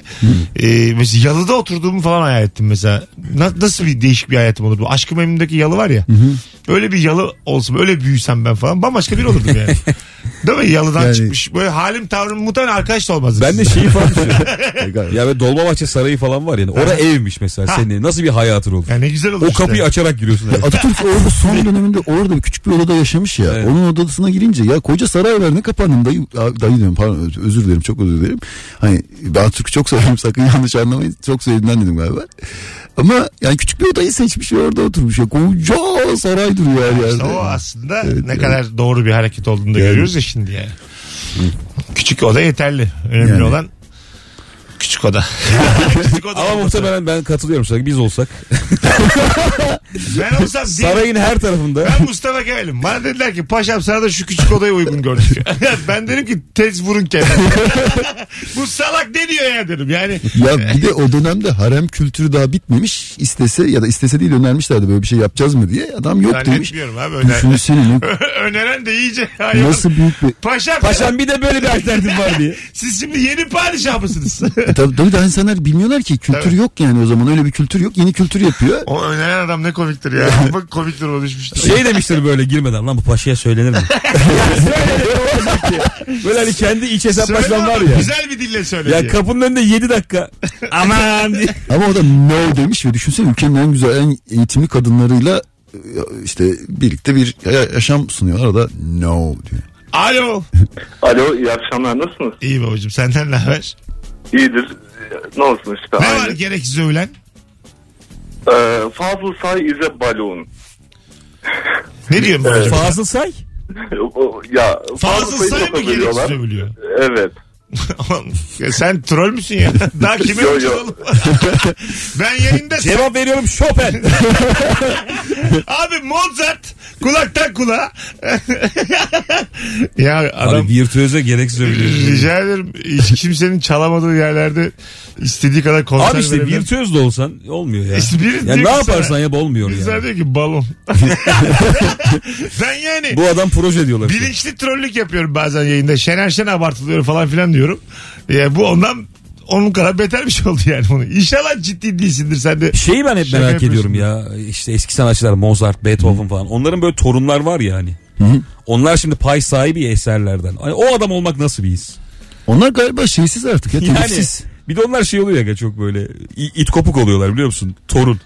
E, mesela yalıda oturduğumu falan hayal ettim mesela. Na- nasıl bir değişik bir hayatım olurdu? Aşkı Memnun'daki yalı var ya. Öyle bir yalı olsun, öyle büyüsem ben falan bambaşka biri olurdum yani. Değil mi? Yalıdan
Yani-
çıkmış. Böyle halim tavrım muhtemelen arkadaş da olmazdı.
Ben de şeyi falan düşünüyorum.
E, gayet.
ya ve Dolmabahçe Sarayı falan var yani. Ora evmiş mesela
Ha.
senin. Nasıl bir hayatın olur?
Ya ne güzel olur
o
işte.
kapıyı açarak giriyorsun.
*laughs* Ya E, Atatürk orada son döneminde orada küçük bir odada yaşamış ya.
Evet.
Onun odasına girince ya koca saray var ne kapandın dayı, a- dayı diyorum pardon öz- özür dilerim çok özür dilerim. Hani ben Atatürk'ü çok severim sakın yanlış anlamayın çok sevdiğimden dedim galiba. Ama yani küçük bir odayı seçmiş ve orada oturmuş ya koca saray duruyor her yerde.
İşte o aslında
Evet,
ne
evet.
kadar doğru bir hareket olduğunu da görüyoruz ya şimdi yani. Küçük oda yeterli. Önemli
Yani.
olan Küçük oda. Küçük oda.
Ama
olmasa-
muhtemelen ben katılıyorum sana. Biz olsak
Ben olsam
sarayın her
*laughs*
tarafında
Ben Mustafa Kemal'im. Bana dediler ki paşam sana da şu küçük odaya uygun gördük. ben dedim ki tez vurun kendini. *laughs* Bu salak ne diyor ya dedim. Yani
Ya bir de o dönemde harem kültürü daha bitmemiş. İstese ya da istese değil önermişlerdi böyle bir şey yapacağız mı diye. Adam yok demiş.
zannetmiyorum abi öneren.
Düşünsene ne-
*laughs* öneren de iyice hayvan.
nasıl büyük bir...
Paşam,
paşam bir de böyle bir alternatif var diye.
siz şimdi yeni padişah mısınız?
E tabii, tabii daha insanlar bilmiyorlar ki kültür
Evet.
yok yani o zaman öyle bir kültür yok. Yeni
*laughs*
kültür yapıyor.
*laughs* o öneren adam ne komiktir ya. Bak komik duruma düşmüştür.
Şey demiştir böyle girmeden lan bu paşaya söylenir mi? *laughs* böyle hani kendi iç
Söyle
hesaplaşmam var
oğlum,
ya.
Güzel bir dille söyle
Ya
diye.
kapının önünde
*laughs*
7 dakika. Aman diye.
Ama o da no demiş ve düşünsene ülkenin en güzel en eğitimli kadınlarıyla e, işte birlikte bir ya- yaşam sunuyorlar. O da no diyor.
Alo.
Alo iyi akşamlar nasılsınız?
İyi babacığım senden ne haber?
İyidir. Ne olsun işte.
Ne var gereksiz övülen?
Ee, Fazıl Say ize balon.
Ne diyorum babacığım?
Fazıl say.
*laughs* O- ya
Fazıl say
çok
mı gereksiz
övüyorlar.
övülüyor? *laughs*
Evet.
Oğlum, ya sen troll müsün
*laughs*
ya? Daha kime
Yo,
yapacaksın
yo.
oğlum? *laughs* ben yayında
Cevap veriyorum Chopin.
abi Mozart kulaktan kulağa. *laughs* ya *laughs* adam
Abi virtüöze gereksiz övülüyor.
rica ederim hiç kimsenin çalamadığı yerlerde istediği kadar konser
Abi işte
verebilir.
virtüöz de olsan olmuyor ya.
İşte biri
ya
diyor
ne
ki
yaparsan
sana-
yap olmuyor
Bizler
ya.
diyor ki balon.
*laughs*
ben yani
Bu adam proje diyorlar.
bilinçli trollük yapıyorum bazen yayında. Şener Şen abartılıyor falan filan diyorum. Ya bu ondan onun kadar beter bir şey oldu yani bunu. İnşallah ciddi değilsindir sen de.
Şeyi ben hep
Şaka
merak
yapıyorsun.
ediyorum ya. İşte eski sanatçılar Mozart, Beethoven falan. Onların böyle torunlar var ya hani. Onlar şimdi pay sahibi eserlerden. Hani o adam olmak nasıl bir his?
Onlar galiba şeysiz artık ya
Yani
telifsiz.
bir de onlar şey oluyor ya çok böyle i- it kopuk oluyorlar biliyor musun? Torun.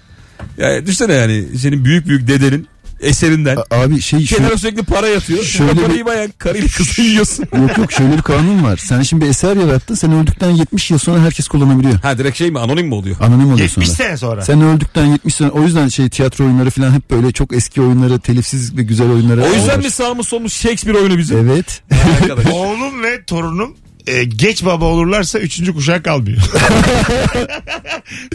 Yani düşünsene yani senin büyük büyük dedenin eserinden
A- Abi şey şu,
kenara sürekli para yatıyor.
şöyle
Şöyle
bir-
parayı bayağı *laughs* karıyla
*laughs*
kızı yiyorsun.
yok yok şöyle bir kanun var. Sen şimdi bir eser yarattın. Sen öldükten 70 yıl sonra herkes kullanabiliyor.
Ha direkt şey mi anonim mi oluyor?
Anonim oluyor
70
sonra.
sene sonra.
Sen öldükten 70 sene o yüzden şey tiyatro oyunları falan hep böyle çok eski oyunları telifsiz ve güzel oyunları.
O yüzden
alıyorlar.
mi sağımız solumuz Shakespeare oyunu bizim? *laughs*
Evet.
Arkadaş.
Oğlum ve torunum e, geç baba olurlarsa üçüncü kuşak
*laughs*
kalmıyor.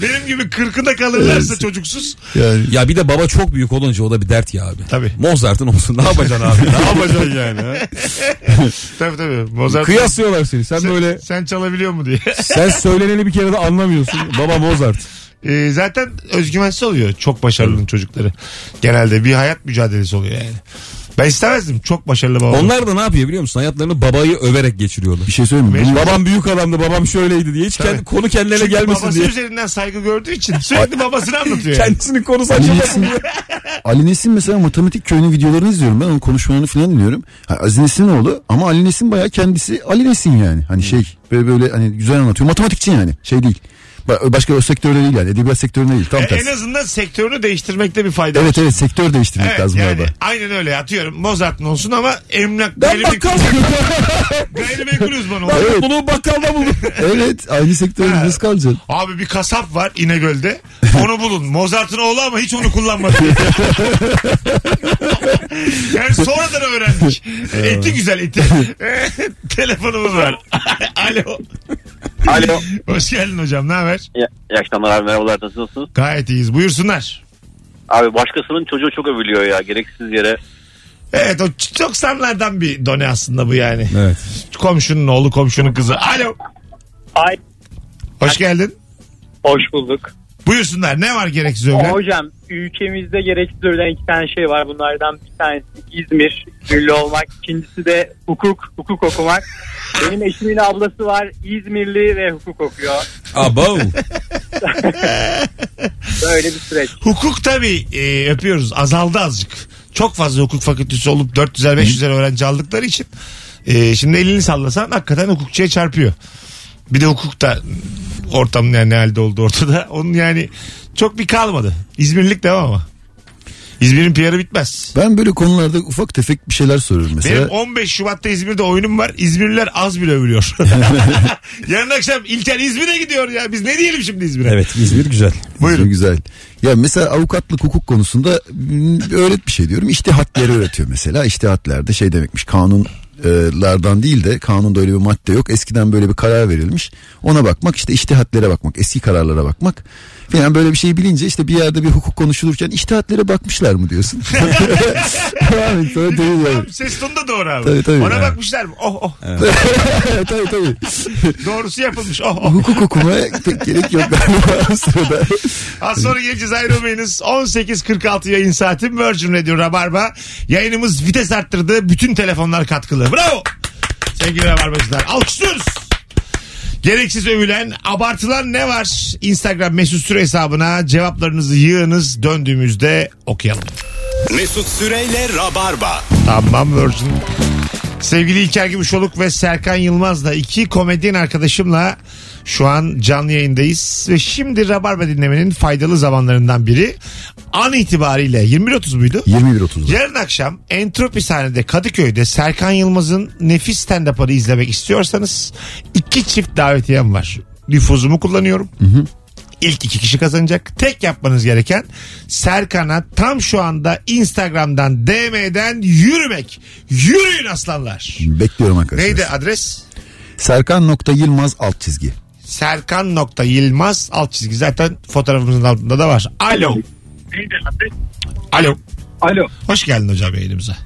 Benim gibi kırkında kalırlarsa çocuksuz.
Yani
Ya bir de baba çok büyük olunca o da bir dert ya abi.
Tabii.
Mozart'ın olsun ne yapacaksın *laughs* abi?
Ne yapacaksın şey yani? ha? *laughs* tabii tabii. Mozart
Kıyaslıyorlar seni. Sen
sen,
böyle
sen çalabiliyor mu diye.
*laughs* sen söyleneni bir kere de anlamıyorsun. Baba Mozart.
E, zaten özgüvensiz oluyor çok başarılı çocukları. Genelde bir hayat mücadelesi oluyor yani. Ben istemezdim çok başarılı baba. olmak.
Onlar da ne yapıyor biliyor musun? Hayatlarını babayı överek geçiriyorlar.
bir şey söyleyeyim mi? Bunu-
Babam büyük adamdı, babam şöyleydi diye hiç kendi,
Tabii.
konu kendilerine
Çünkü
gelmesin
babası
diye.
üzerinden saygı gördüğü için sürekli babasını anlatıyor. Yani. Hani
Kendisinin konusu
Ali
açılmasın
Nesin,
*laughs*
diye.
Ali Nesin mesela matematik köyünün videolarını izliyorum ben onun konuşmalarını falan dinliyorum. Ha, Aziz Nesin oğlu ama Ali Nesin bayağı kendisi Ali Nesin yani. Hani şey böyle böyle hani güzel anlatıyor. Matematikçi yani şey değil. Ba- Başka o sektörde değil yani edebiyat sektöründe değil tam
E, En
tersi.
azından sektörünü değiştirmekte bir fayda var.
Evet evet sektör değiştirmek
Evet,
lazım
yani
galiba.
aynen öyle atıyorum Mozart'ın olsun ama emlak
Ben
gayrimenkul,
*laughs* bakkal
gayrimenkul uzmanı olsun.
Bak bunu bakkalda
*laughs*
buldum.
Evet aynı sektörde nasıl kalacaksın?
Abi bir kasap var İnegöl'de onu bulun Mozart'ın oğlu ama hiç onu kullanmadı. yani sonradan öğrendik. eti güzel eti. *laughs* Telefonumuz var. *laughs* Alo.
Alo.
Hoş geldin hocam ne haber?
İyi, iyi akşamlar abi merhabalar nasılsınız?
Gayet iyiyiz buyursunlar.
Abi başkasının çocuğu çok övülüyor ya gereksiz yere.
Evet o ç- çok standlardan bir done aslında bu yani.
Evet.
Komşunun oğlu komşunun kızı. Alo.
Ay
Hoş geldin.
hoş bulduk.
Buyursunlar ne var gereksiz övülen?
Hocam ülkemizde gereksiz övülen iki tane şey var. Bunlardan bir tanesi İzmir, ünlü olmak. İkincisi de hukuk, hukuk okumak. Benim eşimin ablası var İzmirli ve hukuk okuyor.
Abo.
*laughs* Böyle bir süreç.
Hukuk tabii e, öpüyoruz azaldı azıcık. Çok fazla hukuk fakültesi olup 400'er 500'er öğrenci aldıkları için e, şimdi elini sallasan hakikaten hukukçuya çarpıyor. Bir de hukukta ortamın yani ne halde oldu ortada. *laughs* Onun yani çok bir kalmadı. İzmirlik devam ama. İzmir'in PR'ı bitmez.
Ben böyle konularda ufak tefek bir şeyler soruyorum mesela.
Benim 15 Şubat'ta İzmir'de oyunum var. İzmirliler az bile övülüyor. *laughs* Yarın akşam İlker İzmir'e gidiyor ya. Biz ne diyelim şimdi İzmir'e?
Evet İzmir güzel.
Buyurun.
Güzel. Ya mesela avukatlık hukuk konusunda m, öğret bir şey diyorum. İştihatleri öğretiyor mesela. İştihatler de şey demekmiş. Kanun e, lardan değil de kanunda öyle bir madde yok. Eskiden böyle bir karar verilmiş. Ona bakmak işte iştihatlere bakmak, eski kararlara bakmak. Falan böyle bir şeyi bilince işte bir yerde bir hukuk konuşulurken iştihatlere bakmışlar mı diyorsun? *laughs* Devam et, sonra değil yani.
Tamam, Ses tonu da doğru abi.
Tabii, tabii.
Ona
Evet.
bakmışlar mı? Oh oh.
tabii tabii.
Doğrusu yapılmış. Oh oh.
Hukuk okumaya pek gerek yok galiba o sırada.
Az sonra geleceğiz ayrılmayınız. 18.46 yayın saati Virgin Radio Rabarba. Yayınımız vites arttırdı. Bütün telefonlar katkılı. Bravo. Sevgili Rabarbacılar. Alkışlıyoruz. Gereksiz övülen, abartılan ne var? Instagram mesut süre hesabına cevaplarınızı yığınız. Döndüğümüzde okuyalım.
Mesut Süreyle Rabarba.
Tamam Virgin. Sevgili İlker Gümüşoluk ve Serkan Yılmaz'la iki komedyen arkadaşımla şu an canlı yayındayız. Ve şimdi Rabarba dinlemenin faydalı zamanlarından biri. An itibariyle 21.30 muydu?
21.30.
Yarın akşam Entropi sahnede Kadıköy'de Serkan Yılmaz'ın nefis stand-up'ını izlemek istiyorsanız iki çift davetiyem var. Nüfuzumu kullanıyorum. İlk iki kişi kazanacak. Tek yapmanız gereken Serkan'a tam şu anda Instagram'dan DM'den yürümek. Yürüyün aslanlar.
Bekliyorum arkadaşlar.
Neydi adres?
Serkan nokta Yılmaz alt çizgi.
Serkan.Yılmaz alt çizgi. Zaten fotoğrafımızın altında da var. Alo. Alo.
Alo.
Hoş geldin hocam yayınımıza.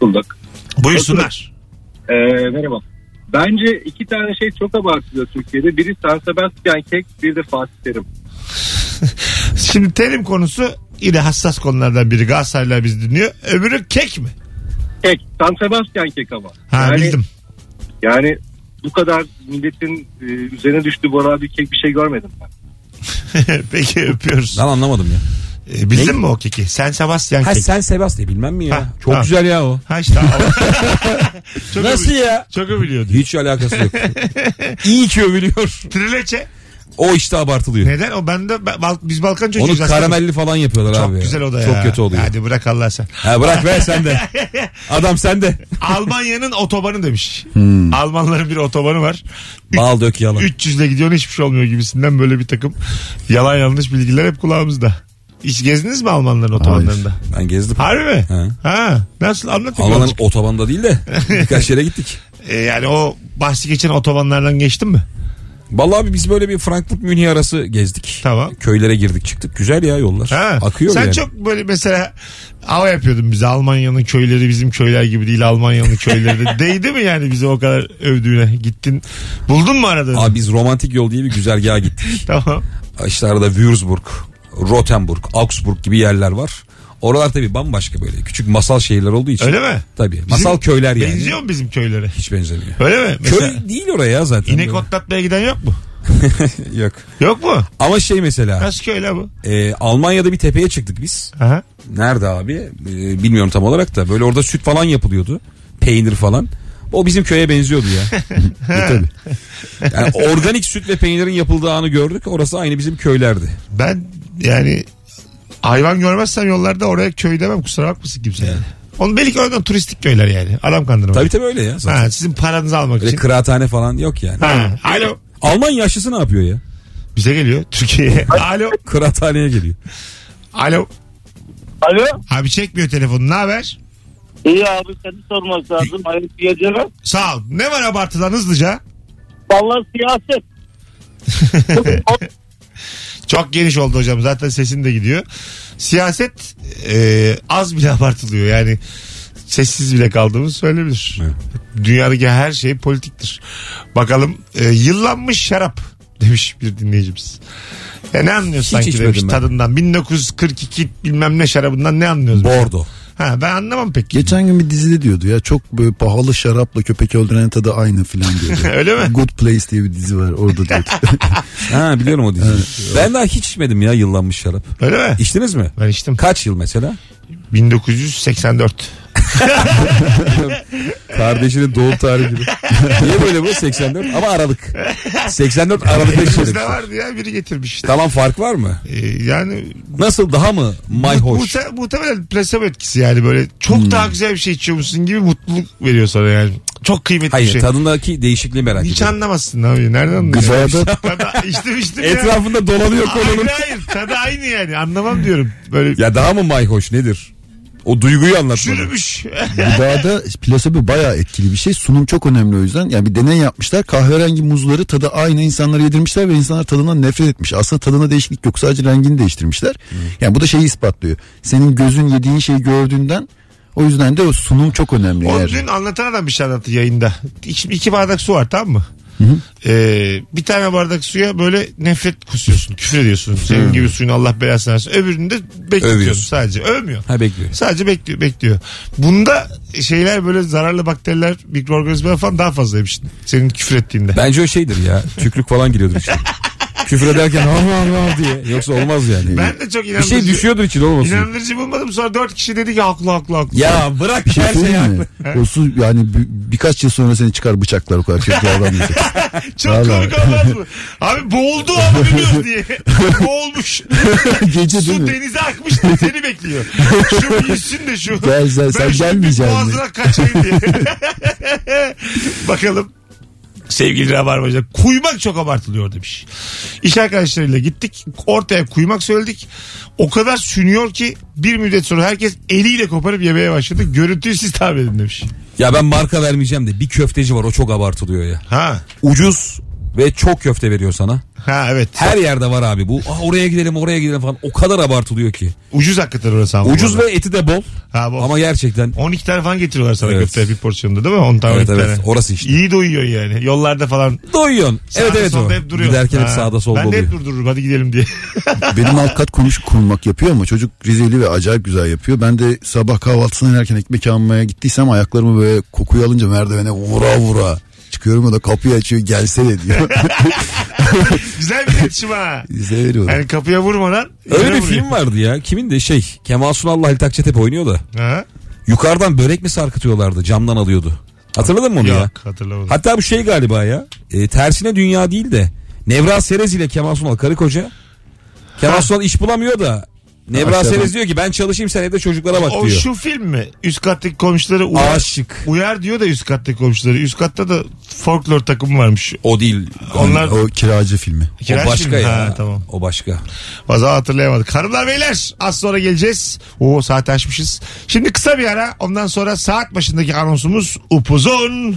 Bulduk.
Buyursunlar.
Ee, merhaba. Bence iki tane şey çok abartılıyor Türkiye'de. Biri San Sebastian kek, bir de Fatih Terim.
Şimdi terim konusu yine hassas konulardan biri. Galatasaraylılar bizi dinliyor. Öbürü kek mi?
Kek. San Sebastian kek ama.
Ha bildim. *laughs*
Yani bu kadar milletin e, üzerine düştüğü bu bir kek bir şey görmedim ben.
Peki öpüyoruz.
Ben anlamadım ya.
Ee, bildin mi o keki? Sen Sebastian
Ha
kek.
sen Sebastian bilmem mi ya?
Ha,
Çok
ha.
güzel ya o.
Ha işte.
*laughs*
çok
Nasıl
övü-
ya?
Çok övülüyordu.
Hiç alakası yok. *laughs* İyi ki övülüyor.
Trileçe.
O işte abartılıyor.
Neden? O bende ben- Bal- biz Balkan
Onu
çocuğuyuz. aslında.
karamelli falan yapıyorlar
Çok
abi. ya.
güzel o da
Çok
ya.
kötü oluyor.
Hadi bırak Allah
*laughs*
sen.
Ha, bırak ver
*laughs*
sen de. Adam sen de.
Almanya'nın otobanı demiş.
Hmm.
Almanların bir otobanı var. Üç-
Bal dök yalan.
300 ile gidiyorsun hiçbir şey olmuyor gibisinden böyle bir takım yalan yanlış bilgiler hep kulağımızda. Hiç gezdiniz mi Almanların otobanlarında?
Ben gezdim.
Harbi mi?
Ha.
Ha. Nasıl anlatın?
Alman'ın
birazcık.
otobanda değil de birkaç yere gittik.
Ee, yani o bahsi geçen otobanlardan geçtin mi?
Vallahi abi biz böyle bir Frankfurt Münih arası gezdik.
Tamam.
Köylere girdik çıktık. Güzel ya yollar.
Ha.
Akıyor
Sen
yani.
çok böyle mesela hava yapıyordun bize Almanya'nın köyleri bizim köyler gibi değil Almanya'nın köyleri
*laughs*
de. Değdi mi yani bize o kadar övdüğüne? Gittin buldun mu arada?
Abi biz romantik yol diye bir
*laughs*
güzergaha gittik.
Tamam.
işte arada Würzburg, Rotenburg, Augsburg gibi yerler var. Oralar tabii bambaşka böyle. Küçük masal şehirler olduğu için.
Öyle mi?
Tabii. masal köyler yani.
Benziyor mu bizim köylere?
Hiç benzemiyor.
Öyle mi? Mesela
Köy değil oraya zaten.
inek otlatmaya giden yok mu?
Böyle- *laughs* Yok.
Yok mu?
Ama şey mesela
Nasıl köy la bu?
e, Almanya'da bir tepeye çıktık biz.
Aha.
Nerede abi? E, bilmiyorum tam olarak da. Böyle orada süt falan yapılıyordu. Peynir falan. O bizim köye benziyordu
*laughs*
ya.
E, Tabii.
Yani organik süt ve peynirin yapıldığı anı gördük. Orası aynı bizim köylerdi.
Ben yani hayvan görmezsem yollarda oraya köy demem kusura bakmasın kimse yani. Onu belki oradan turistik köyler yani. Adam kandırma.
Tabii tabii öyle ya. Zaten.
Ha, sizin paranızı almak
Öyle
için.
kıraathane falan yok yani.
Ha. Alo.
Alman yaşlısı ne yapıyor ya?
Bize geliyor Türkiye'ye. Alo.
*laughs* Kıraathaneye geliyor.
Alo.
Alo.
Abi çekmiyor telefonu. Ne haber?
İyi abi seni sorması lazım. Hayırlı geceler.
Sağ ol. Ne var abartılan hızlıca?
Vallahi siyaset.
Çok geniş oldu hocam. Zaten sesin de gidiyor. Siyaset e, az bile *laughs* abartılıyor. Yani sessiz bile kaldığımız söylenebilir. Dünyadaki her şey politiktir. Bakalım e, yıllanmış şarap *laughs* demiş bir dinleyicimiz. Ya ne anlıyorsun sanki
içmedim
demiş
ben.
tadından. 1942 bilmem ne şarabından ne anlıyoruz?
Bordo.
Ha, ben anlamam pek.
Geçen gün bir dizide diyordu ya çok böyle pahalı şarapla köpek öldüren tadı aynı filan diyordu.
*laughs* Öyle mi?
Good Place diye bir dizi var
*laughs*
orada diyordu.
Ha biliyorum o diziyi. ben daha hiç içmedim ya yıllanmış şarap.
Öyle mi?
İçtiniz mi?
Ben içtim.
Kaç yıl mesela?
1984.
Kardeşinin doğum tarihi gibi. *laughs* Niye böyle bu? 84 ama Aralık. 84 Aralık'ta içelim.
Bizde vardı ya biri getirmiş işte.
Tamam fark var mı?
Ee, yani
Nasıl daha mı mayhoş?
muhte- muhtemelen plasebo etkisi yani böyle çok daha güzel bir şey içiyormuşsun gibi mutluluk veriyor sana yani. Çok kıymetli bir
Hayır
şey.
tadındaki değişikliği merak
Hiç
ediyorum.
anlamazsın abi. Nereden anlayacaksın?
Gıdaya
Tadı- içtim
*laughs*
içtim ya.
Etrafında dolanıyor
Hayır
konunun.
hayır tadı aynı yani anlamam diyorum. Böyle
Ya daha mı mayhoş nedir? O duyguyu anlatmadım.
Çürümüş.
Gıdada plasebo bayağı etkili bir şey. Sunum çok önemli o yüzden. Yani bir deney yapmışlar. Kahverengi muzları tadı aynı insanlara yedirmişler ve insanlar tadından nefret etmiş. Aslında tadına değişiklik yok. Sadece rengini değiştirmişler. Yani bu da şeyi ispatlıyor. Senin gözün yediğin şeyi gördüğünden o yüzden de o sunum çok önemli.
O
eğer-
dün anlatan adam bir şey anlattı yayında. İki, iki bardak su var tamam mı? Ee, bir tane bardak suya böyle nefret kusuyorsun. Küfür ediyorsun. Senin gibi suyun Allah belasını versin. Öbürünü de bekletiyorsun
Övüyorsun.
sadece. Övmüyor.
Ha bekliyorum.
Sadece bekliyor, bekliyor. Bunda şeyler böyle zararlı bakteriler, mikroorganizmalar falan daha fazlaymış. Senin küfür ettiğinde.
Bence o şeydir ya. Tüklük falan giriyordur
*laughs*
içine. Küfür ederken hav hav hav diye. Yoksa olmaz yani.
Ben de çok
bir
inandırıcı.
şey düşüyordur için olmasın.
İnandırıcı bulmadım. Sonra dört kişi dedi ki haklı haklı haklı.
Ya bırak
Bir şey
her şey
söyleyeyim
haklı.
mi? O su yani bir- birkaç yıl sonra seni çıkar bıçaklar o kadar kötü davranmayacak.
Çok
Vallahi.
komik olmaz mı? Abi boğuldu ama biliyoruz
*laughs*
diye. Boğulmuş.
*laughs* Gece değil
Su
mi?
denize akmış da
*laughs*
seni bekliyor. Şu yüzsün de şu.
Gel sen- sen
şu bir
gelmeyeceksin mi?
Boğazına kaçayım diye. *laughs* Bakalım. Sevgili Rabarbacı kuymak çok abartılıyor demiş. İş arkadaşlarıyla gittik ortaya kuymak söyledik. O kadar sünüyor ki bir müddet sonra herkes eliyle koparıp yemeye başladı. Görüntüyü siz tahmin edin demiş.
Ya ben marka vermeyeceğim de bir köfteci var o çok abartılıyor ya.
Ha.
Ucuz ve çok köfte veriyor sana.
Ha evet.
Her yerde var abi bu. Aa, oraya gidelim oraya gidelim falan. O kadar abartılıyor ki.
Ucuz hakikaten orası ama.
Ucuz ve eti de bol.
Ha, bu.
Ama gerçekten
12 tane falan getiriyorlar sana
Evet.
köfte bir porsiyonda değil mi? 10 tane
Evet
12
evet
tane.
orası işte.
İyi doyuyor yani. Yollarda falan.
Doyuyorsun. evet
Sağda
evet o.
solda hep duruyor.
Giderken hep
Ha.
sağda solda
ben
oluyor.
Ben hep durdururum hadi gidelim diye. *laughs*
Benim alt kat konuş kurmak yapıyor ama çocuk Rizeli ve acayip güzel yapıyor. Ben de sabah kahvaltısına inerken ekmek almaya gittiysem ayaklarımı böyle kokuyu alınca merdivene vura vura çıkıyorum o da kapıyı açıyor gelsene diyor. *laughs*
Güzel bir iletişim
*laughs*
ha.
Severim onu.
Yani kapıya vurmadan.
Öyle
yere
bir
vuruyor.
film vardı ya. Kimin de şey Kemal Sunal'la Halit Akçatep oynuyor da.
Ha?
Yukarıdan börek mi sarkıtıyorlardı camdan alıyordu. Hatırladın mı onu ya?
Yok hatırlamadım.
Hatta bu şey galiba ya. E, tersine dünya değil de. Nevra Serez ile Kemal Sunal karı koca. Kemal Sunal iş bulamıyor da. Nevra
Aşağıdan-
Serez diyor ki ben çalışayım sen evde çocuklara bak
o
diyor.
şu film mi? Üst kattaki komşuları uyar,
Aşık.
uyar diyor da üst kattaki komşuları. Üst katta da folklor takımı varmış.
O değil.
Onlar
O kiracı filmi.
Kiraz
o başka
filmi.
ya.
Ha, tamam.
O başka.
Fazla hatırlayamadık. Hanımlar beyler az sonra geleceğiz. Oo saat açmışız. Şimdi kısa bir ara ondan sonra saat başındaki anonsumuz upuzun.